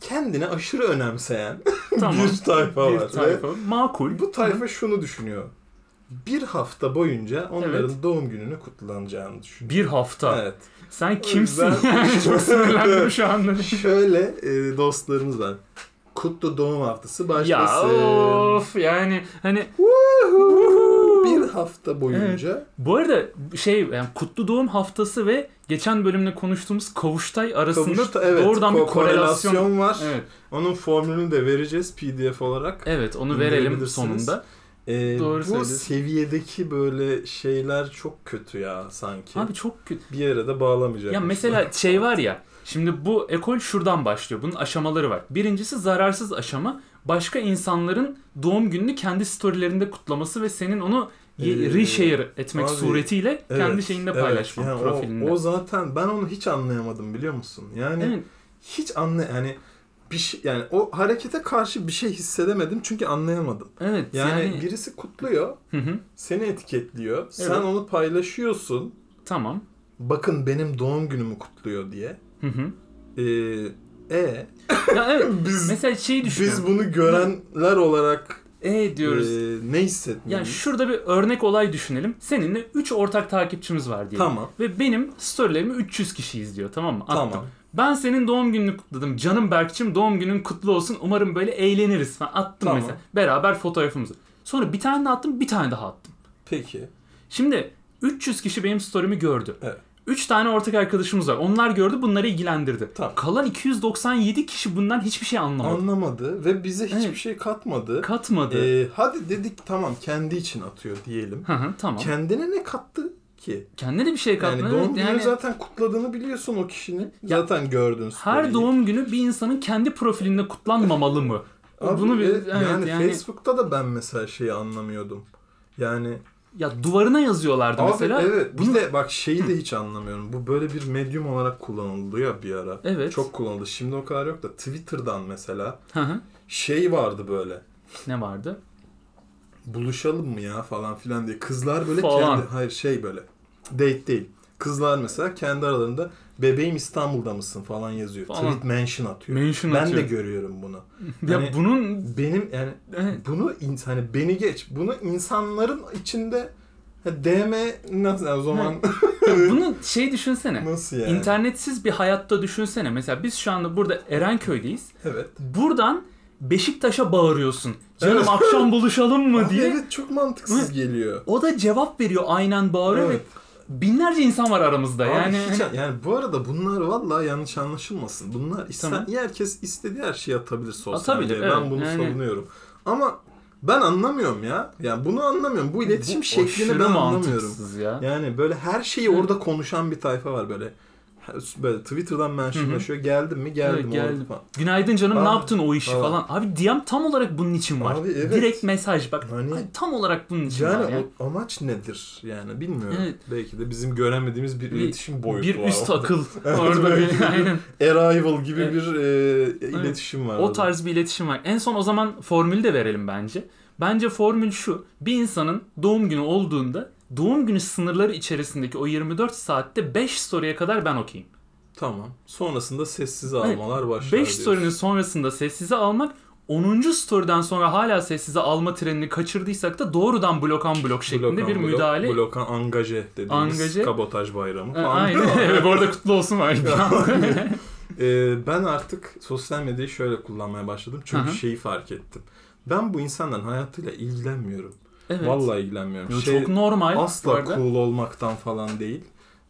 kendine aşırı önemseyen Tamam. bir tayfa Bir var. tayfa. Makul. Ve bu tayfa şunu düşünüyor. Bir hafta boyunca onların doğum gününü kutlanacağını düşünüyor. bir hafta. Evet. Sen O kimsin? yüzden- Yani Çok sinirlendim şu anda. Şöyle e, dostlarımız var. Kutlu doğum haftası ya başlasın. of yani hani Woohoo! Bir hafta boyunca bu arada şey yani kutlu doğum haftası ve geçen bölümde konuştuğumuz kavuştay arasında kavuşta evet doğrudan ko- bir korelasyon. korelasyon var. Evet. Onun formülünü de vereceğiz PDF olarak. Evet onu verelim İndirebilirsiniz. sonunda. Ee, Doğru bu söylüyorsun. seviyedeki böyle şeyler çok kötü ya sanki. Abi çok kötü. bir yere de bağlamayacak. Ya mesela şey var ya. Şimdi bu ekol şuradan başlıyor. Bunun aşamaları var. Birincisi zararsız aşama. Başka insanların doğum gününü kendi storylerinde kutlaması ve senin onu ye- Ee, reshare etmek abi, suretiyle kendi şeyinde paylaşman profilinde. O, zaten ben onu hiç anlayamadım biliyor musun? Yani Evet. hiç anla yani bir şey yani o harekete karşı bir şey hissedemedim çünkü anlayamadım. Evet. Yani, Yani, birisi kutluyor, Hı hı, seni etiketliyor, sen Evet. onu paylaşıyorsun. tamam. Bakın benim doğum günümü kutluyor diye. Hı hı. Ee, e Ya evet. biz Mesela şeyi biz düşünüyorum. bunu görenler olarak E diyoruz. e, ne hissetmiyoruz? Yani şurada bir örnek olay düşünelim. Seninle 3 ortak takipçimiz var diyelim. Tamam. Ve benim storylerimi 300 kişi izliyor tamam mı? Attım. Tamam. Ben senin doğum gününü kutladım. Canım Berkçim doğum günün kutlu olsun. Umarım böyle eğleniriz falan. Attım Tamam. mesela. Beraber fotoğrafımızı. Sonra bir tane daha attım bir tane daha attım. Peki. Şimdi 300 kişi benim storymi gördü. Evet. 3 tane ortak arkadaşımız var. Onlar gördü bunları ilgilendirdi. Tamam. Kalan 297 kişi bundan hiçbir şey anlamadı. Anlamadı ve bize hiçbir Evet. şey katmadı. Katmadı. Ee, hadi dedik tamam kendi için atıyor diyelim. Hı hı, tamam. Kendine ne kattı ki? Kendine de bir şey katmadı. Yani Evet, doğum günü zaten kutladığını biliyorsun o kişinin. Ya, zaten gördün. Her story'yi. doğum günü bir insanın kendi profilinde kutlanmamalı mı? Abi, Bunu bir e, evet, yani, yani, Facebook'ta da ben mesela şeyi anlamıyordum. Yani ya duvarına yazıyorlardı abi mesela. evet Bunu- bir de bak şeyi de hiç anlamıyorum. Bu böyle bir medyum olarak kullanıldı ya bir ara. Evet. Çok kullanıldı. Şimdi o kadar yok da Twitter'dan mesela Hı hı. şey vardı böyle. ne vardı? buluşalım mı ya falan filan diye. Kızlar böyle Falan. kendi hayır şey böyle date değil. Kızlar mesela kendi aralarında bebeğim İstanbul'da mısın falan yazıyor. Falan. Tweet mention atıyor. Mention ben atıyor. de görüyorum bunu. Ya Hani- bunun Benim yani Evet. bunu ins- hani beni geç. Bunu insanların içinde ha, DM nasıl yani o zaman bunu şey düşünsene. nasıl yani? İnternetsiz bir hayatta düşünsene. Mesela biz şu anda burada Erenköy'deyiz. Evet. Buradan Beşiktaş'a bağırıyorsun. Canım Evet. akşam buluşalım mı Abi diye. Ah, evet çok mantıksız Hı. geliyor. O da cevap veriyor aynen bağırıyor Evet. ve binlerce insan var aramızda. Abi yani hani hiç- yani bu arada bunlar vallahi yanlış anlaşılmasın. Bunlar isten, Tamam. herkes istediği her şeyi atabilir sosyal Atabilir, medyaya. Ben evet. bunu Yani- savunuyorum. Ama ben anlamıyorum ya. Yani bunu anlamıyorum. Bu iletişim Bu şeklini aşırı ben anlamıyorum. mantıksız Ya. Yani böyle her şeyi orada konuşan bir tayfa var böyle. Her- Böyle Twitter'dan mentionlaşıyor. Geldim mi? Geldim. Evet, orada geldim. falan. Günaydın canım Abi, ne yaptın o işi abi. falan. Abi DM tam olarak bunun için var. Abi evet. Direkt mesaj bak. Hani- Ay, tam olarak bunun için var. Yani ya. o amaç nedir? Yani bilmiyorum. Evet. Belki de bizim göremediğimiz bir Bir- iletişim boyutu bir var. üst orada. akıl Evet, orada böyle bir bir- aynen. Arrival gibi Evet. bir e, iletişim var. O orada. tarz bir iletişim var. En son o zaman formülü de verelim bence. Bence formül şu. Bir insanın doğum günü olduğunda doğum günü sınırları içerisindeki o 24 saatte 5 soruya kadar ben okuyayım. Tamam. Sonrasında sessiz Evet. almalar başlar 5 diyorsun. sorunun sonrasında sessize almak 10. story'den sonra hala sessize alma trenini kaçırdıysak da doğrudan blokan blok şeklinde Blokan bir blok- müdahale. Blokan angaje dediğimiz Angaje. kabotaj bayramı Ha, falan. Aynen. Evet, bu arada kutlu olsun var. Ee, ben artık sosyal medyayı şöyle kullanmaya başladım. Çünkü Hı hı. şeyi fark ettim. Ben bu insanların hayatıyla ilgilenmiyorum. evet. Vallahi ilgilenmiyorum. Yo, Şey, çok normal. bu asla arada. cool olmaktan falan değil.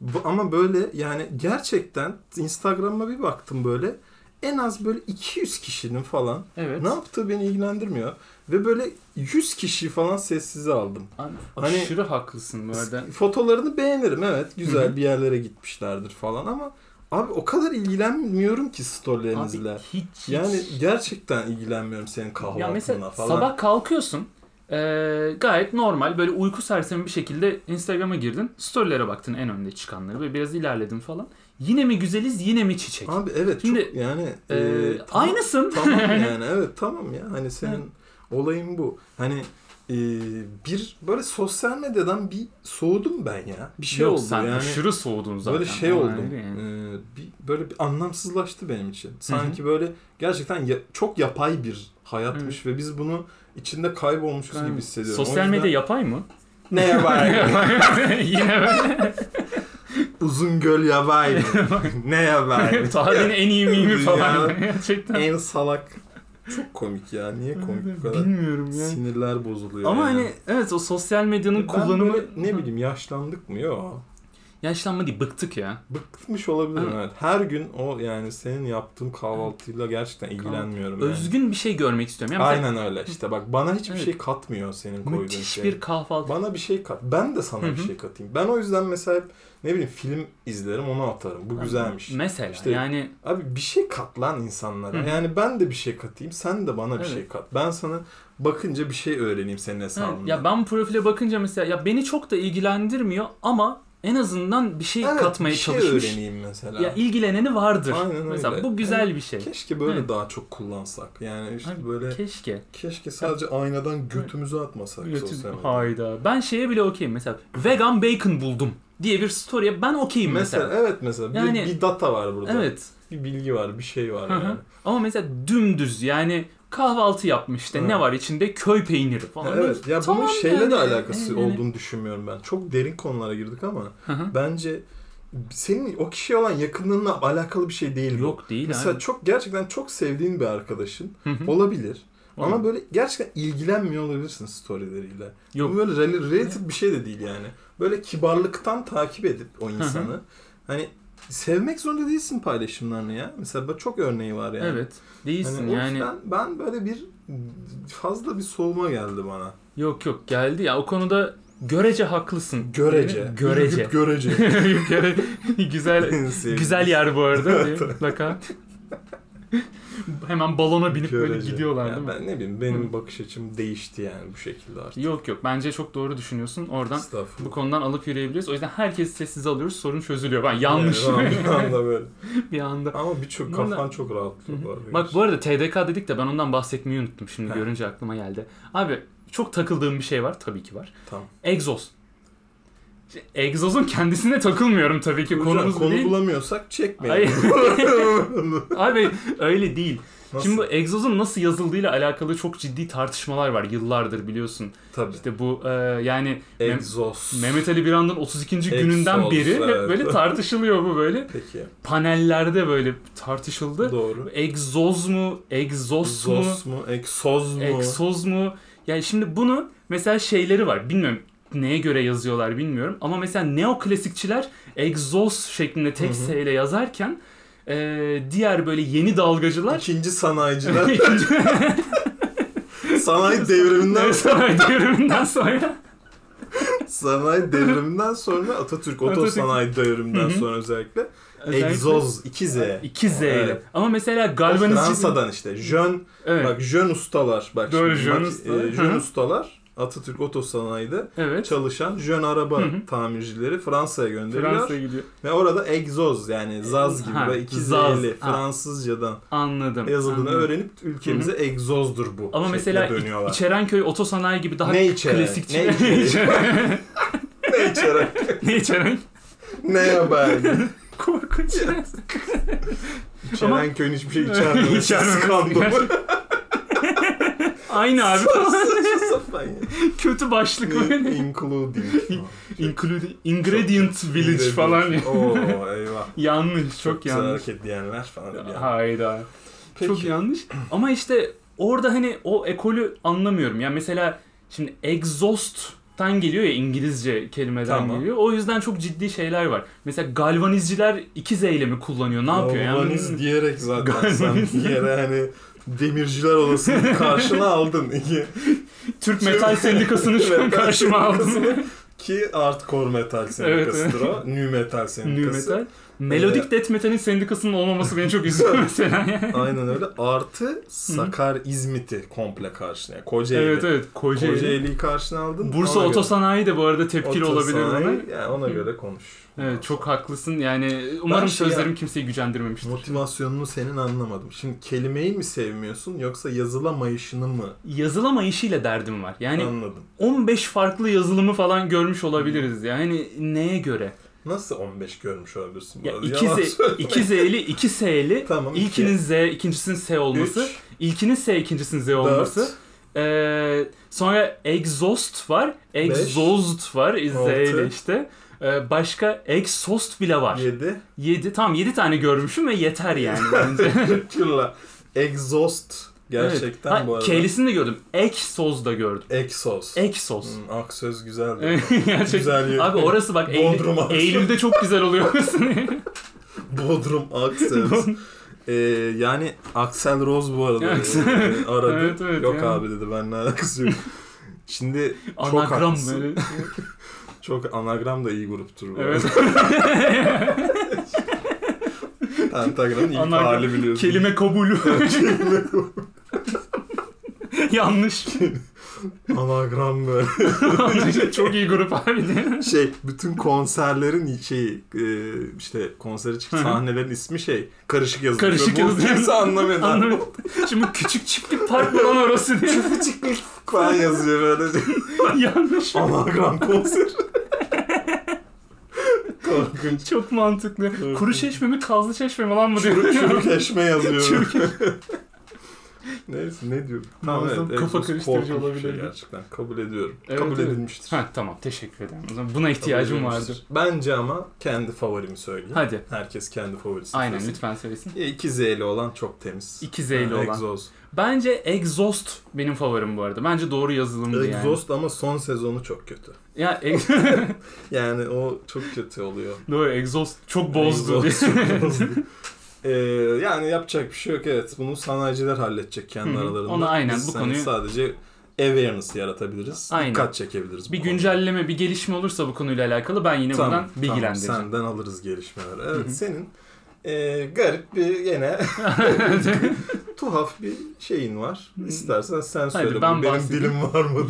Bu, ama böyle yani gerçekten Instagram'a bir baktım böyle en az böyle 200 kişinin falan Evet. ne yaptığı beni ilgilendirmiyor. Ve böyle 100 kişi falan sessize aldım. Abi, Hani- Aşırı haklısın bu arada. Fotolarını beğenirim evet. Güzel Hı hı. bir yerlere gitmişlerdir falan ama abi o kadar ilgilenmiyorum ki storylerinizle. Abi hiç, hiç Yani gerçekten ilgilenmiyorum senin kahvaltınla Ya mesela falan. sabah kalkıyorsun. eee, gayet normal böyle uyku sersemi bir şekilde Instagram'a girdin. Storylere baktın en önde çıkanları ve biraz ilerledin falan. Yine mi güzeliz yine mi çiçek? Abi evet Şimdi, çok yani Eee, e, tamam- aynısın. tamam yani evet tamam ya hani senin olayın bu. Hani e, bir böyle sosyal medyadan bir soğudum ben ya. Bir şey Yok, oldu sen yani. aşırı soğudun zaten. Böyle şey Ama oldum. öyle yani. e, bir, böyle bir anlamsızlaştı benim için. Sanki böyle gerçekten ya- çok yapay bir hayatmış ve biz bunu içinde kaybolmuşuz Aynen. gibi hissediyorum. O Sosyal yüzden- medya yapay mı? ne yapay? yine böyle. Uzun göl yapay. ne yapay? Tarihin en iyi mimi Ya. falan. Gerçekten. en salak. Çok komik ya. Niye komik bu kadar? Bilmiyorum ya. Sinirler bozuluyor. Ama yani. hani evet o sosyal medyanın Ben kullanımı böyle ne bileyim yaşlandık mı? Yok. yaşlanma değil bıktık ya. Bıkmış olabilirim Evet. evet. Her gün o yani senin yaptığın kahvaltıyla gerçekten ilgilenmiyorum yani. Özgün bir şey görmek istiyorum. Yani mesela Aynen öyle işte bak bana hiçbir Evet. şey katmıyor senin koyduğun Müthiş şey. bir kahvaltı. Bana bir şey kat. Ben de sana Hı bir hı. şey katayım. Ben o yüzden mesela hep, ne bileyim film izlerim onu atarım. Bu güzelmiş. Mesela İşte- yani Abi bir şey kat lan insanlara. Hı. Yani ben de bir şey katayım. Sen de bana bir Evet. şey kat. Ben sana bakınca bir şey öğreneyim senin hesabından. evet, ya ben profile bakınca mesela ya beni çok da ilgilendirmiyor ama en azından bir şey Evet, katmaya bir şey çalışmış. öğreneyim mesela. Ya ilgileneni vardır. Aynen mesela öyle. bu güzel bir şey. Keşke böyle Evet. daha çok kullansak. Yani işte Abi, böyle Keşke. keşke sadece aynadan götümüzü atmasak sosyal medyada. Hayda. Ben şeye bile okeyim mesela vegan bacon buldum diye bir story'e ben okeyim Mesela, mesela. evet mesela bir, Yani- bir data var burada. Evet. Bir bilgi var, bir şey var Hı hı. yani. Ama mesela dümdüz yani kahvaltı yapmış işte ne Evet. var içinde köy peyniri falan. Evet. Ya Tamam bunun şeyle yani. de alakası Yani- olduğunu düşünmüyorum ben. Çok derin konulara girdik ama Hı hı. bence senin o kişiye olan yakınlığınla alakalı bir şey değil bu. Yok değil Mesela abi. çok gerçekten çok sevdiğin bir arkadaşın Hı hı. olabilir. Ama Olabilir. böyle gerçekten ilgilenmiyor olabilirsin storyleriyle. Yok. Bu böyle rel- related bir şey de değil yani. Böyle kibarlıktan takip edip o insanı. hani sevmek zorunda değilsin paylaşımlarını ya. Mesela bak çok örneği var yani. Evet. Hani Değilsin o yani. yüzden ben böyle bir fazla bir soğuma geldi bana. Yok yok geldi ya o konuda görece haklısın. Görece. Görece. Ürküp görece. Göre- güzel güzel yer bu arada. Mutlaka. Hemen balona binip böyle Görece. gidiyorlar Ya değil mi? Ben ne bileyim benim bakış açım değişti yani bu şekilde artık. Yok yok bence çok doğru düşünüyorsun. Oradan Estağfurullah. bu konudan alıp yürüyebiliriz. O yüzden herkes sessiz alıyoruz. Sorun çözülüyor. Ben yanlış Evet, bir anda böyle. bir anda. Ama birçok Bunlar- kafan çok rahatlıyor. bu arada. Bak bu arada TDK dedik de ben ondan bahsetmeyi unuttum. Şimdi Ha. görünce aklıma geldi. Abi çok takıldığım bir şey var. Tabii ki var. Tamam. Egzoz. Şimdi Egzozun kendisine takılmıyorum tabii ki. Hocam, Konumuz bu konu değil. bulamıyorsak çekmeyelim. Hayır. Abi öyle değil. Nasıl? Şimdi bu egzozun nasıl yazıldığıyla alakalı çok ciddi tartışmalar var yıllardır biliyorsun. Tabii. İşte bu e, yani Mem- Egzoz. Mehmet Ali Birand'ın 32. gününden Egzoz, beri hep evet. böyle tartışılıyor bu böyle. Peki. Panellerde böyle tartışıldı. Doğru. Egzoz mu? Egzoz mu? Zos mu? Egzoz mu? Egzoz mu? Yani şimdi bunu mesela şeyleri var. Bilmiyorum neye göre yazıyorlar bilmiyorum. Ama mesela neoklasikçiler egzoz şeklinde tek Hı hı. S ile yazarken e, diğer böyle yeni dalgacılar İkinci sanayiciler. ikinci sanayi devriminden Evet, sanayi devriminden sonra sanayi devriminden sonra Atatürk oto Atatürk. sanayi devriminden Hı hı. sonra özellikle egzoz 2Z. 2 Z ile. Evet. Ama mesela galvanizm Fransa'dan işte Jön evet. bak Jön ustalar bak Doğru, şimdi Jön bak, usta. e, Hı Jön hı. ustalar Atatürk Otosanayi'de evet. çalışan Jön araba Hı hı. tamircileri Fransa'ya gönderiliyor. Fransa'ya gidiyor. Ve orada egzoz yani zaz gibi Ha, ve iki zaz. z'li Ha. Fransızcadan Anladım. yazıldığını anladım. öğrenip ülkemize egzozdur bu. Ama şekle mesela İ- dönüyorlar. İçerenköy otosanayi gibi daha Ne içeren? klasikçi. Ne içeren? ne içeren? ne içeren? Ne yapar? Korkunç. İçeren köyün hiçbir şey içermiyor. İçermemesi Skandal. gerçekten. Aynı abi. Saçma sapan ya. Kötü başlık In- böyle. Including. Include, ingredient village Including. falan. Oo eyvah. yanlış, çok, güzel yanlış. hareket diyenler falan. bir yana. Hayda. Peki. Çok yanlış. Ama işte orada hani o ekolü anlamıyorum. Yani mesela şimdi exhaust'tan geliyor ya İngilizce kelimeden Tamam. geliyor. O yüzden çok ciddi şeyler var. Mesela galvanizciler iki Z ile mi kullanıyor? Ne yapıyor? Hmm. Galvaniz yani? diyerek zaten sen Galvaniz. bir yere hani demirciler odasını karşına aldın. İki- Türk Metal Sendikası'nı şu an Metal karşıma aldım. sendikasını Ki hardcore metal sendikasıdır o. Nu metal New sendikası. Metal. Melodik Death Metal'in sendikasının olmaması beni çok üzüyor mesela. yani. Aynen öyle. Artı Sakar İzmit'i komple karşına. Yani Kocaeli. evet evet. Kocaeli. Kocaeli'yi karşına aldın. Bursa ona göre- Otosanayi de bu arada tepkili olabilir Otosanayi, ona. Yani ona göre konuş. Evet çok haklısın. Yani umarım şey- sözlerim kimseyi gücendirmemiştir. Motivasyonunu senin anlamadım. Şimdi kelimeyi mi sevmiyorsun yoksa yazılamayışını mı? yazılama işiyle derdim var. Yani Anladım. 15 farklı yazılımı falan görmüş Hmm. olabiliriz. Yani neye göre? Nasıl 15 görmüş olabilirsin? bu Ya arada? iki, Yalan Z, söyleme. iki Z'li, iki S'li. Tamam, iki. İlkinin Z, ikincisinin S olması. Üç, İlkinin S, ikincisinin Z dört, olması. Ee, sonra exhaust var. Exhaust var. Z ile altı. işte. Ee, başka exhaust bile var. 7. 7. Tam 7 tane görmüşüm ve yeter yani bence. Kırla. Exhaust. Gerçekten Evet. Ha, bu arada. K'lisini de gördüm. Exhaust da gördüm. Exhaust. Exhaust. Hmm, aksöz güzel. bir- Gerçekten. Güzel yer. Abi orası bak Bodrum Eylül, abi. Eylül'de çok güzel oluyor. Bodrum Aksöz. Ee, yani Axel Rose bu arada Axel- ee, aradı. Evet, evet, yok yani. abi dedi ben ne alakası yok. Şimdi çok Anagram haklısın. böyle. Çok anagram da iyi gruptur bu. Evet. arada. Pentagram'ın ilk Anagram- hali biliyorsun. Kelime kabulü. Yanlış. Anagram böyle. çok iyi grup abi. şey bütün konserlerin şeyi e, işte konsere çıkan Hı hı. sahnelerin ismi şey karışık yazılıyor. Karışık Bu yazılıyor. Kimse anlamıyor. Anladım. Şimdi küçük çiftlik park falan orası diye. Falan yazıyor böyle. Yanlış. Anagram konser. Korkunç. Çok mantıklı. Evet. Kuru çeşme mi kazlı çeşme mi lan mı diyor. Çürük çürük eşme yazıyor. Çürük Neyse ne diyorum. Muazzam kafa bu karıştırıcı korkunç bir olabilir. Şey gerçekten kabul ediyorum. Evet, kabul evet. edilmiştir. Ha tamam teşekkür ederim. O zaman buna Kabul ihtiyacım edilmiştir. vardı. Bence ama kendi favorimi söyleyeyim. Hadi. Herkes kendi favorisi. Aynen lütfen söylesin. 2 Z'li olan çok temiz. İki Z'li Ha, olan. Egzoz. Bence Exhaust benim favorim bu arada. Bence doğru yazılımdı yani. Exhaust ama son sezonu çok kötü. Ya ex- Yani o çok kötü oluyor. doğru Exhaust çok bozdu. Exhaust çok bozdu. Ee, yani yapacak bir şey yok evet. Bunu sanayiciler halledecek kendi Hı hı. aralarında. Ona aynen, Biz bu hani konuyu- sadece awareness yaratabiliriz. Aynen. Dikkat çekebiliriz. bir konuya. güncelleme, bir gelişme olursa bu konuyla alakalı ben yine Tamam, buradan bilgilendireceğim. Tamam, senden alırız gelişmeleri. Evet Hı hı. senin e, garip bir yine tuhaf bir şeyin var. İstersen sen Hayır, söyle. ben bunu. Benim bahsedeyim. dilim var mı?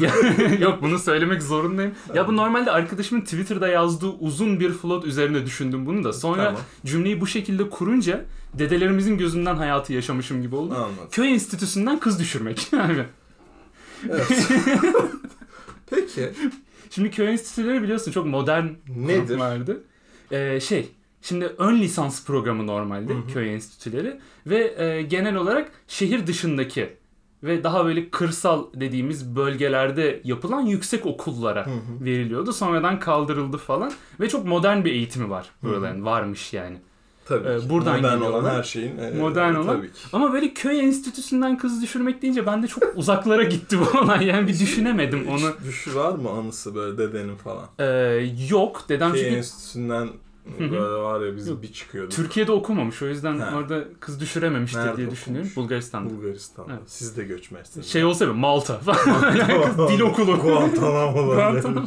Ya- Yok bunu söylemek zorundayım. Ya bu Tamam. normalde arkadaşımın Twitter'da yazdığı uzun bir float üzerine düşündüm bunu da. Sonra Tamam. cümleyi bu şekilde kurunca dedelerimizin gözünden hayatı yaşamışım gibi oldu. Anladım. Köy enstitüsünden kız düşürmek. Abi. Evet. Peki Şimdi köy enstitüleri biliyorsun çok modern nedir? vardı. Ee, şey, şimdi ön lisans programı normalde Hı hı. köy enstitüleri ve e, genel olarak şehir dışındaki ve daha böyle kırsal dediğimiz bölgelerde yapılan yüksek okullara Hı hı. veriliyordu. Sonradan kaldırıldı falan ve çok modern bir eğitimi var buraların varmış yani. Tabii Ee, ki. buradan modern geliyor olan olan. her şeyin. e, Modern olan. Tabii ki. Ama böyle köy enstitüsünden kız düşürmek deyince ben de çok uzaklara gitti bu olay. Yani bir düşünemedim onu. Hiç düşü var mı anısı böyle dedenin falan? Ee, yok dedem Şey çünkü enstitüsünden Hı hı. böyle var ya bizim Yok. bir çıkıyordu. Türkiye'de okumamış. O yüzden Ha. orada kız düşürememiştir Nerede diye okumuş? düşünüyorum. Bulgaristan'da. Bulgaristan'da. Evet. Siz de göçmezsiniz. Şey olsa bir Malta falan. dil okulu. Guantanamo'da. Guantanamo.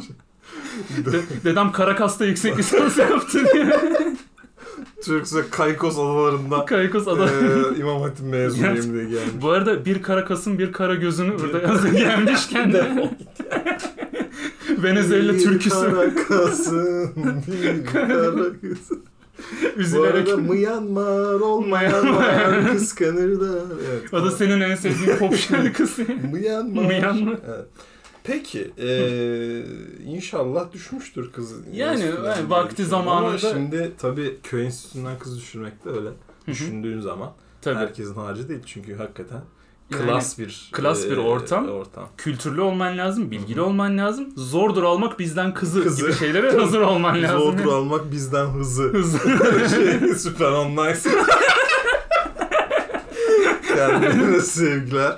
De- dedem Karakas'ta yüksek lisans yaptı diye. Türkse Kaykos adalarında Kaykos adam. e, İmam Hatip mezunuyum diye gelmiş. Bu arada bir Karakas'ın bir kara gözünü burada yazdı gelmişken de. Venezuela türküsü Karakasın. bir Karakasın. Bu üzülerek. arada Myanmar olmayanlar kıskanırlar. Evet. O da senin en sevdiğin pop şarkısı. Myanmar. Myanmar. Evet. Peki, eee inşallah düşmüştür kız. Yani, enstitüden yani diye vakti düşünüyorum. Ama zamanında- şimdi tabii köy enstitüsünden kız düşürmek de öyle. Düşündüğün zaman Tabii. herkesin harcı değil çünkü hakikaten Yani klas bir e, klas bir ortam. ortam. Kültürlü olman lazım, bilgili olman lazım. Zordur almak bizden kızı, Kızı. gibi şeylere hazır olman lazım. Zordur almak bizden hızı. Hızlı. şey, süper online. Kendine sevgiler.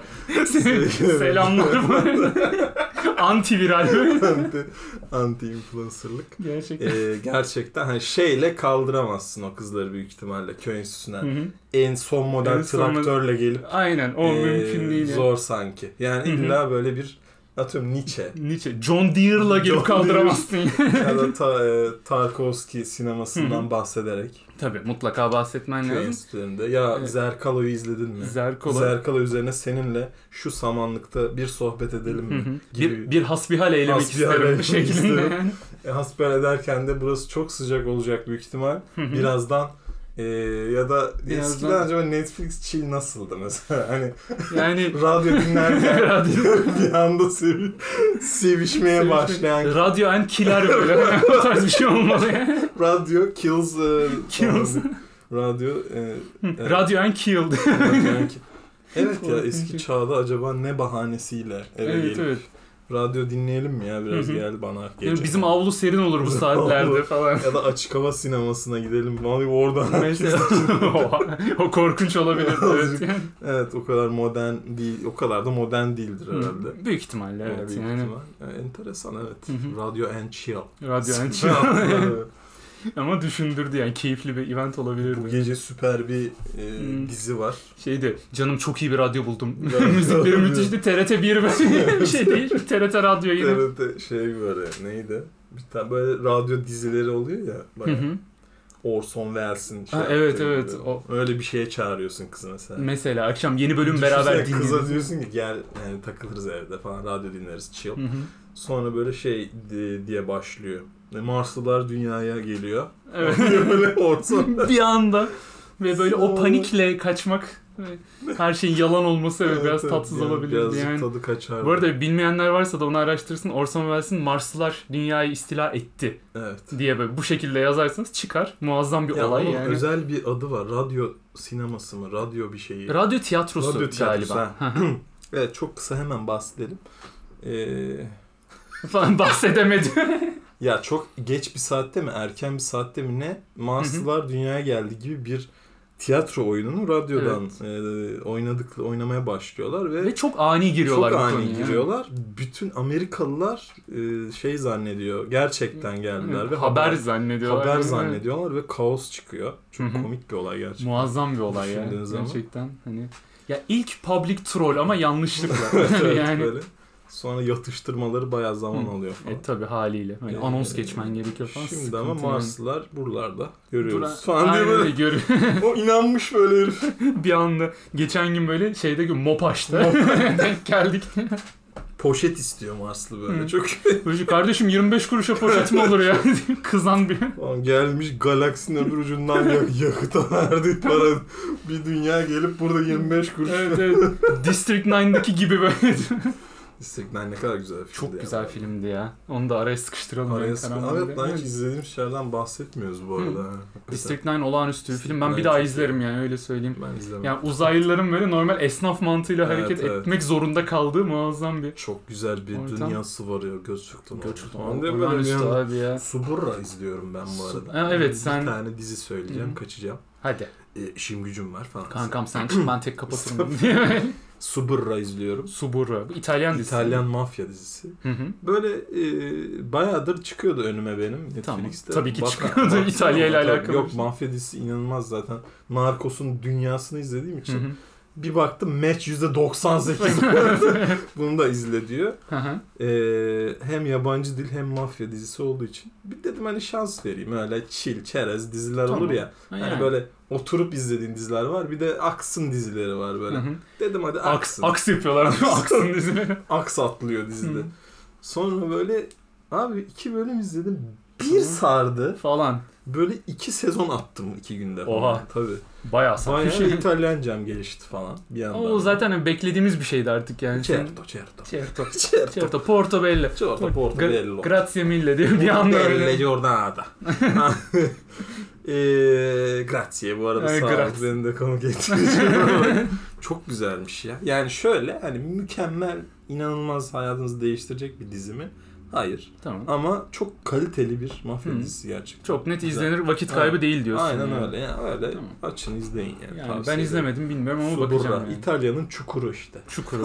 Selamlar. bu arada. Antiviral böyle. Anti, anti influencerlık. Gerçekten. Ee, gerçekten hani şeyle kaldıramazsın o kızları büyük ihtimalle köy enstitüsüne. Hı hı. En son model En son model- traktörle gelip Aynen o ee, mümkün değil. yani. zor sanki. Yani Hı hı. illa böyle bir atıyorum Nietzsche Nietzsche. John Deere'la John gelip kaldıramazsın. yani. ya da ta, ee, Tarkovski sinemasından bahsederek Tabii mutlaka bahsetmen köy lazım. enstitülerinde. Ya Evet. Zerkalo'yu izledin mi? Zerkola. Zerkalo üzerine seninle şu samanlıkta bir sohbet edelim Hı mi? hı. gibi. Bir, bir hasbihal eylemek Hasbihal isterim bu eylemek şeklinde isterim. yani. E, hasbihal ederken de burası çok sıcak olacak büyük ihtimal. Hı hı. Birazdan eee, ya da Birazdan- eskiden acaba Netflix chill nasıldı mesela? Hani Yani radyo dinlerken Radyo- bir anda sev sevişmeye başlayan Radyo en killer böyle. o tarz bir şey olmalı yani. radyo kills eee, Kills. falan. radyo e, eee, Evet. Radyo en killed. yani ki- Evet ya eski çağda acaba ne bahanesiyle eve şey. evet gelip evet. radyo dinleyelim mi ya biraz Hı hı. gel bana gece. Yani bizim avlu serin olur bu saatlerde Avlu. falan. ya da açık hava sinemasına gidelim. Vallahi oradan Mesela o korkunç olabilir. evet. Azıcık. Evet o kadar modern değil. O kadar da modern değildir herhalde. Yani. Büyük ihtimalle evet. büyük yani. ihtimal. E, enteresan evet. Hı hı. Radyo and chill. Radyo en killed. Evet. Ama düşündürdü yani keyifli bir event Bu olabilirdi. gece süper bir e, Hmm. dizi var. Şeydi canım çok iyi bir radyo buldum. Evet. Müzikleri müthişti. TRT 1 böyle bir şey değil. TRT radyo yine. TRT şey böyle neydi? Bir tane böyle radyo dizileri oluyor ya. Hı Bayağı. hı. Orson Welles'in şey Ha, evet, yaptığı evet. gibi. O- Öyle bir şeye çağırıyorsun kızı mesela. Mesela akşam yeni bölüm Düşünsene, beraber Kıza dinleyelim. diyorsun ki gel yani takılırız evde falan radyo dinleriz chill. Hı hı. Sonra böyle şey di- diye başlıyor. E, Marslılar dünyaya geliyor. Evet. böyle Orson bir anda ve böyle o Sonra- panikle kaçmak ve her şeyin yalan olması evet, biraz evet, tatsız yani olabilirdi birazcık yani. tadı kaçar. Bu arada bilmeyenler varsa da onu araştırsın. Orson Welles'in Marslılar dünyayı istila etti evet. diye böyle bu şekilde yazarsanız çıkar. Muazzam bir Ya olay onun yani. özel bir adı var. Radyo sineması mı? Radyo bir şeyi. Radyo tiyatrosu Radyo tiyatrosu, galiba. evet çok kısa hemen bahsedelim. Ee, Falan bahsedemedi. ya çok geç bir saatte mi erken bir saatte mi ne Marslılar Dünya'ya geldi gibi bir tiyatro oyununu radyodan e, oynadık oynamaya başlıyorlar ve ve çok ani giriyorlar. çok bu ani konuya. giriyorlar. Bütün Amerikalılar e, şey zannediyor. Gerçekten geldiler Evet, ve haber, zannediyorlar. haber Yani, zannediyorlar ve kaos çıkıyor. Çok Hı hı. komik bir olay gerçekten. Muazzam bir olay ya. Düşündüğün zaman. Gerçekten hani ya ilk public troll ama yanlışlıkla. Hani Evet, evet, yani böyle. Sonra yatıştırmaları bayağı zaman Hı. alıyor falan. E tabi haliyle. Hani Ee, anons geçmen gerekiyor falan. Şimdi Sıkıntı ama yani. Marslılar buralarda görüyoruz Dura- falan diye Aynen öyle böyle. görüyor. o inanmış böyle herif. bir anda. Geçen gün böyle şeyde gün Mopaş'ta denk geldik. Poşet istiyor Marslı böyle Hı. çok. Böyle şu, Kardeşim 25 kuruşa poşet mi olur ya? Kızan bir. Ulan gelmiş galaksinin öbür ucundan ya- yakıta verdi para. Bir dünya gelip burada 25 kuruş. Evet evet. District 9'daki gibi böyle. İstiklal ne kadar güzel bir Çok filmdi güzel ya. filmdi ya. Onu da araya sıkıştıralım. Araya yani sıkı- karanlığı. Evet lan hiç Evet. izlediğim şeylerden bahsetmiyoruz bu arada. District 9 olağanüstü bir film. Ben District Nine bir daha çok iyi. izlerim yani öyle söyleyeyim. Ben izlemedim. Yani uzaylıların böyle normal esnaf mantığıyla Evet, hareket evet. etmek zorunda kaldığı muazzam bir... Çok güzel bir Ortam. dünyası var ya Göçük'ten. Göçükten. Değil mi? Böyle bir Olağanüstü an- abi ya. Suburra izliyorum ben bu Su- arada. Ha, evet, bir sen- tane dizi söyleyeceğim, Hı hı. kaçacağım. Hadi. E, işim gücüm var falan. Kankam sen çık ben tek kapatırım diye. Suburra izliyorum. Suburra. Bu İtalyan dizisi. İtalyan mafya dizisi. Hı hı. Böyle e, bayağıdır çıkıyordu önüme benim Tamam. Netflix'te. Tabii ki Bak- çıkıyordu. baktım İtalya ile ama tabii- alakalı. Yok mafya dizisi inanılmaz zaten. Narcos'un dünyasını izlediğim Hı için. hı. Bir baktım match %98 bunu da izle diyor. Hı hı. Ee, hem yabancı dil hem mafya dizisi olduğu için bir dedim hani şans vereyim öyle chill çerez diziler Tamam. olur ya Ha, hani yani. böyle oturup izlediğin diziler var bir de aksın dizileri var Hı böyle hı. dedim hadi Aks, aksın aks, aks yapıyorlar. Aksın dizileri. atlıyor dizide Hı. sonra böyle abi iki bölüm izledim bir Tamam. sardı Falan. böyle iki sezon attım iki günde falan. Oha. tabii Bayağı bayağı sarmış. İtalyancam gelişti falan bir yandan Ama o zaten hani beklediğimiz bir şeydi artık yani. Certo certo Certo. certo certo Certo. Portobello. certo Gra- portobello Grazie mille diye bir anda Belle öyle. giornata. Eee, grazie bu arada Ee, sağ ol. grazie. Beni de konuk ettiğiniz Çok güzelmiş ya. Yani şöyle hani mükemmel, inanılmaz hayatınızı değiştirecek bir dizi mi? Hayır. tamam. Ama çok kaliteli bir mafya Hı. dizisi gerçekten. Çok net Güzel. izlenir vakit Aynen. kaybı değil diyorsun. Aynen yani. öyle. Yani öyle Tamam. açın izleyin yani. Yani Tavsiye ben ederim. izlemedim bilmiyorum ama Suburra, bakacağım yani. İtalya'nın çukuru işte. Çukuru.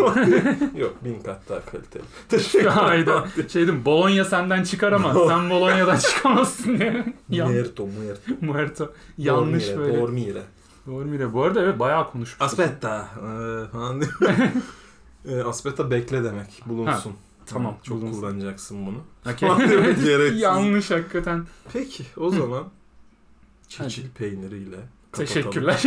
Yok bin kat daha kaliteli. Teşekkür Hayda. Şey dedim Bologna senden çıkar ama sen Bologna'dan çıkamazsın diye. Yan, Muerto, muerto. Muerto. Yanlış Dormire, böyle. Dormire. Dormire. Bu arada evet bayağı konuşmuş. Aspetta eee, falan diyor. Eee, Aspetta bekle demek bulunsun. tamam, Çok bulunsun. kullanacaksın bunu. Okey. Gereksiz. Yanlış hakikaten. Peki o zaman çeçil peyniriyle kapatalım. Teşekkürler.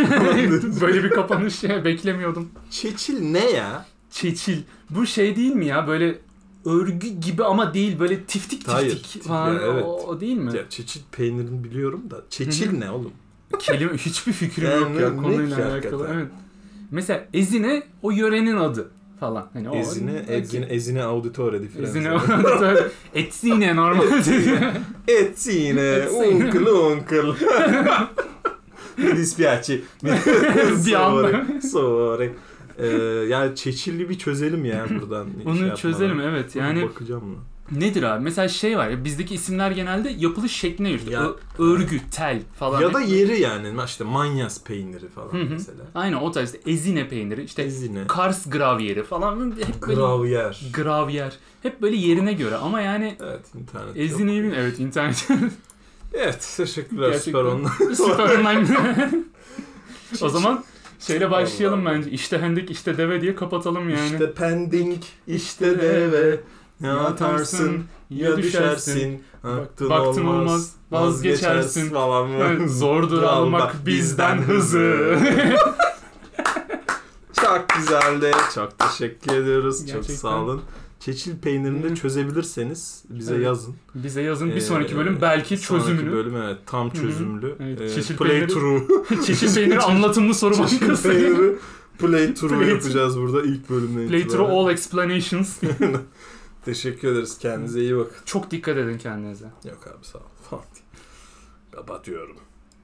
böyle bir kapanış şey beklemiyordum. Çeçil ne ya? Çeçil. Bu şey değil mi ya böyle örgü gibi ama değil böyle tiftik tiftik Hayır, tiftik falan ya, evet. o, o değil mi? ya çeçil peynirini biliyorum da çeçil ne oğlum? Kelime hiçbir fikrim Yani yok ya ne konuyla ki alakalı. hakikaten? Evet. Mesela ezine o yörenin adı falan. Hani o, ezine, Okey. ezine, ezine auditore di Firenze. Ezine o adı. da- Etsine normalde. Ezine, Ezine. uncle, uncle. Mi dispiace. Mi- Bir anda. Sorry, Sorry. Eee, yani çeçilli bir çözelim ya buradan. Onu şey yapmadan. çözelim evet. Yani bakacağım lan. nedir abi? Mesela şey var ya bizdeki isimler genelde yapılış şekline yürür. Ya- Ö- Örgü, tel falan. Ya da yeri yani işte manyas peyniri falan Hı hı. mesela. Aynen o tarz işte ezine peyniri işte Ezine, Kars gravyeri falan hep böyle gravyer. gravyer. Hep böyle yerine göre ama yani Evet internet. yok. Ezine'yi bilmiyorum. Evet internet. Evet teşekkürler Gerçekten. süper onunla. Süper online. Şey, o zaman şeyle başlayalım bence. İşte hendek işte deve diye kapatalım yani. İşte pending, işte deve. Ne atarsın, ya düşersin. Baktın, baktın olmaz, olmaz, vazgeçersin. falan. Evet, zordur almak bizden hızı. Çok güzeldi. Çok teşekkür ediyoruz. Gerçekten. Çok sağ olun. Çeçil peynirini Hı. de çözebilirseniz bize Evet. yazın. Bize yazın bir Ee, sonraki bölüm belki Sonraki çözümünü. bölüm evet tam hı. çözümlü. Evet, Ee, çeşil play peyniri- through. Çeşit peyniri anlatımlı soru Çeşil bankası. peyniri play through Play- yapacağız burada ilk bölümden Play through itibaren. all explanations. Teşekkür ederiz. Kendinize iyi bakın. Çok dikkat edin kendinize. Yok abi sağ ol. Falan diye. Kapatıyorum.